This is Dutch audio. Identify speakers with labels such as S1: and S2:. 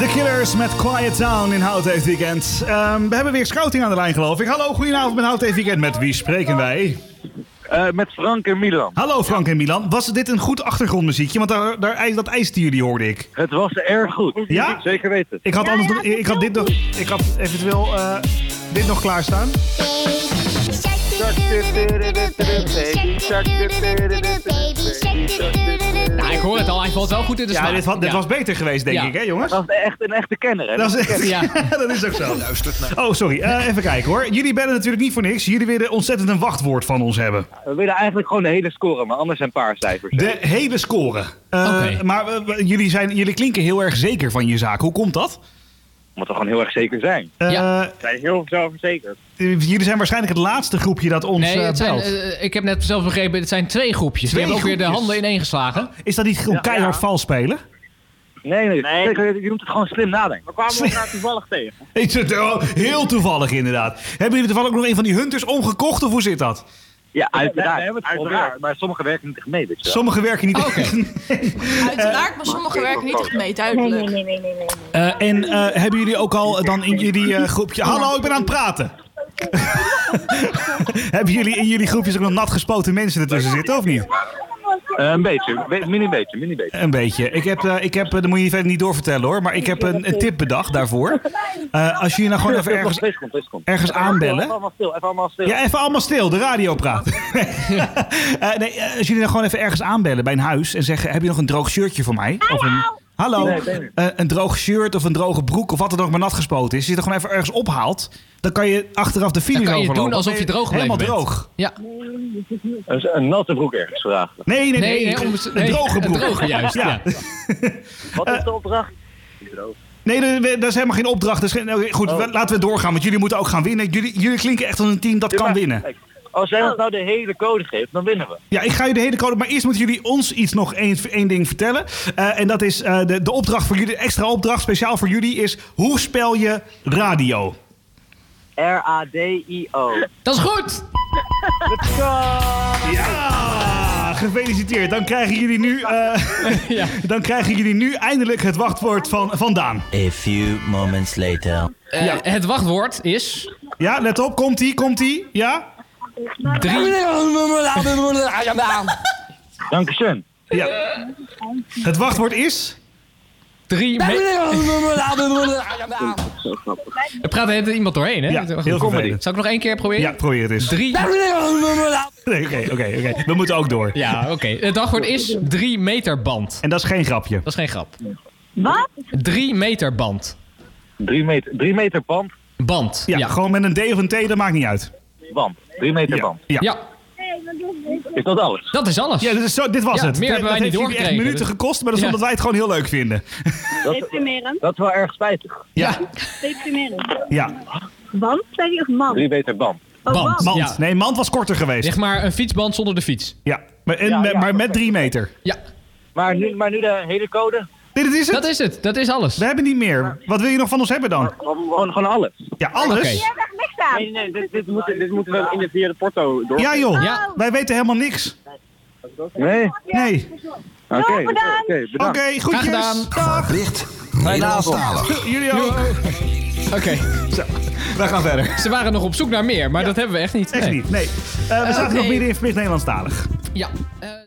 S1: The Killers met Quiet Town in Hout heeft weekend. Ehm, we hebben weer scouting aan de lijn geloof ik. Hallo, goedenavond met Hout heeft weekend. Met wie spreken wij?
S2: Eh, met Frank en Milan.
S1: Hallo Frank en Milan. Was dit een goed achtergrondmuziekje? Want daar, daar, ijs- dat ijsten jullie hoorde ik.
S2: Het was erg goed.
S1: Ja?
S2: Zeker weten.
S1: Ik had,
S3: Ja,
S1: anders,
S3: ja,
S1: nog-
S3: het is
S1: ik had dit
S3: heel
S1: nog, ik had eventueel eh, dit nog klaarstaan.
S4: Ja, Nou, ik hoor het al. Hij valt wel goed in de
S1: Ja,
S4: smaak.
S1: dit, wa- dit
S4: Ja.
S1: was beter geweest denk
S4: Ja.
S1: ik hè jongens?
S2: Dat was echt een echte kenner. Hè?
S1: Dat is, echt,
S4: Ja.
S1: dat is ook zo. Oh, sorry. Eh, even kijken hoor. Jullie bellen natuurlijk niet voor niks. Jullie willen ontzettend een wachtwoord van ons hebben.
S2: We willen eigenlijk gewoon de hele score, maar anders zijn een paar cijfers.
S1: De hele score. Eh,
S4: Oké.
S1: Maar eh, w- jullie, zijn, jullie klinken heel erg zeker van je zaak. Hoe komt dat?
S2: Omdat we gewoon heel erg zeker zijn.
S1: Eh,
S4: Ja.
S2: We zijn heel zelfverzekerd.
S1: eh, jullie zijn waarschijnlijk het laatste groepje dat ons
S4: Nee,
S1: eh,
S4: het zijn,
S1: belt.
S4: eh, ik heb net zelf begrepen, het zijn twee groepjes.
S1: Twee
S4: die hebben ook weer de
S1: groepjes.
S4: handen ineengeslagen.
S1: Is dat niet gewoon
S2: Ja,
S1: keihard
S2: ja.
S1: vals spelen?
S2: Nee, nee, nee. Zeker, weten. je moet het gewoon slim nadenken. We kwamen elkaar toevallig tegen.
S1: Is het wel heel toevallig inderdaad. Hebben jullie toevallig ook nog een van die hunters omgekocht of hoe zit dat?
S2: Ja, uiteraard.
S5: we hebben het
S2: uiteraard.
S5: geprobeerd.
S2: Maar sommigen werken niet echt mee, weet je wel.
S1: Sommigen werken niet.
S4: Oké.
S6: Uiteraard, maar sommige werken niet echt mee,
S3: Nee,
S6: duidelijk.
S3: nee, nee, nee, nee. nee.
S1: Eh, en eh, hebben jullie ook al eh, dan in jullie eh, groepje... Hallo, ik ben aan het praten. hebben jullie in jullie groepjes ook nog nat gespoten mensen ertussen zitten of niet?
S2: Eh, een beetje, Be- mini beetje, mini beetje.
S1: Een beetje. Ik heb, eh, ik heb, eh, dat moet je verder niet doorvertellen hoor, maar ik heb een, een tip bedacht daarvoor. Eh, als jullie nou gewoon even ergens,
S2: Wees komt, wees komt.
S1: ergens
S2: Even
S1: aanbellen.
S2: allemaal stil, even allemaal stil.
S1: Ja, even allemaal stil, de radio praat. Eh, nee, eh, als jullie nou gewoon even ergens aanbellen bij een huis en zeggen: Heb je nog een droog shirtje voor mij? Of een, hallo,
S2: Nee, nee, nee.
S1: Eh, een droog shirt of een droge broek of wat er nog maar nat gespoten is. Als je dat gewoon even ergens ophaalt, dan kan je achteraf de file
S4: Dan kan je
S1: overlopen.
S4: doen alsof je droog
S1: Helemaal
S4: gebleven bent.
S1: droog.
S4: Ja.
S2: Een, een natte broek ergens vragen.
S1: Nee, nee, nee.
S4: Nee, nee, om-
S1: een
S4: nee,
S1: droge
S4: een
S1: broek.
S4: droge juist,
S1: ja.
S2: Wat
S1: Eh,
S2: is de opdracht?
S1: Nee, dat- dat is helemaal geen opdracht. Dat is geen- oké, goed, we- laten we doorgaan, want jullie moeten ook gaan winnen. Jullie, jullie klinken echt als een team dat kan
S2: maar-
S1: winnen.
S2: Kijk, Als jij ons nou de hele code geeft, dan winnen we.
S1: Ja, ik ga je de hele code, maar eerst moeten jullie ons iets nog één, één ding vertellen. Eh, en dat is eh, de, de opdracht voor jullie, de extra opdracht speciaal voor jullie is: hoe spel je radio?
S2: R-A-D-I-O.
S4: Dat is goed!
S1: Ja, gefeliciteerd. Dan krijgen jullie nu, eh,
S4: Ja.
S1: dan krijgen jullie nu eindelijk het wachtwoord van, van Daan.
S7: A few moments later.
S4: Eh, Het wachtwoord is...
S1: Ja, let op, komt ie, komt ie. Ja?
S4: Drie...
S2: Dankeschön.
S1: Ja. Het wachtwoord is.
S4: drie me- er praat de hele tijd iemand doorheen, hè?
S1: Ja,
S4: Goed.
S1: heel vervelend.
S4: Zal ik nog één keer proberen?
S1: Ja, probeer het eens.
S4: Drie...
S1: Nee, Oké, oké, oké. We moeten ook door.
S4: Ja, oké. Het wachtwoord is drie meter band.
S1: En dat is geen grapje.
S4: Dat is geen grap.
S3: Wat?
S4: Drie meter band.
S2: Drie meter, drie meter band,
S4: Band.
S1: Ja, gewoon met een D of een T, dat maakt niet uit.
S2: band. Drie meter
S1: Ja,
S2: band.
S1: ja.
S4: Ja,
S2: Is dat alles?
S4: dat is alles.
S1: Ja, dit, is zo, dit was
S4: Ja,
S1: het.
S4: meer
S1: dat dat
S4: hebben wij niet
S1: heeft jullie echt
S4: doorgekregen,
S1: minuten
S4: dus-
S1: gekost, maar dat is
S4: Ja.
S1: omdat wij het gewoon heel leuk vinden.
S3: Deprimerend,
S2: Dat is wel erg spijtig.
S4: Ja,
S3: deprimerend.
S1: Ja,
S3: Want, zei hij, of man?
S2: Drie meter band.
S3: Oh,
S4: band.
S1: mand.
S4: Ja.
S1: Nee, mand was korter geweest.
S4: Zeg maar een fietsband zonder de fiets.
S1: Ja, maar, en,
S2: Ja, ja,
S1: maar met
S2: perfect.
S1: drie meter.
S4: Ja,
S2: Maar nu, maar nu de hele code?
S1: Dit dit is het.
S4: dat is het. Dat is alles.
S1: We hebben niet meer. Wat wil je nog van ons hebben dan?
S2: Gewoon, gewoon alles.
S1: Ja, alles.
S4: Oké.
S3: Jij zegt niks aan.
S5: Nee, nee, dit, dit, moet, dit moeten we in de via de porto door.
S1: Ja joh,
S4: Ja.
S1: wij weten helemaal niks.
S2: Nee? Oké,
S1: Nee.
S3: Oké,
S2: oké,
S3: bedankt.
S1: Oké,
S2: bedankt.
S1: goed
S4: gedaan.
S1: Dag.
S7: Bericht Nederlandstalig.
S1: Jullie ook.
S4: Oké,
S1: Wij gaan verder.
S4: ze waren nog op zoek naar meer, maar dat hebben we echt niet.
S1: Echt
S4: Nee.
S1: niet, nee. Eh, we zaten
S4: oké.
S1: nog midden in verplicht Nederlandstalig.
S4: Ja, Eh,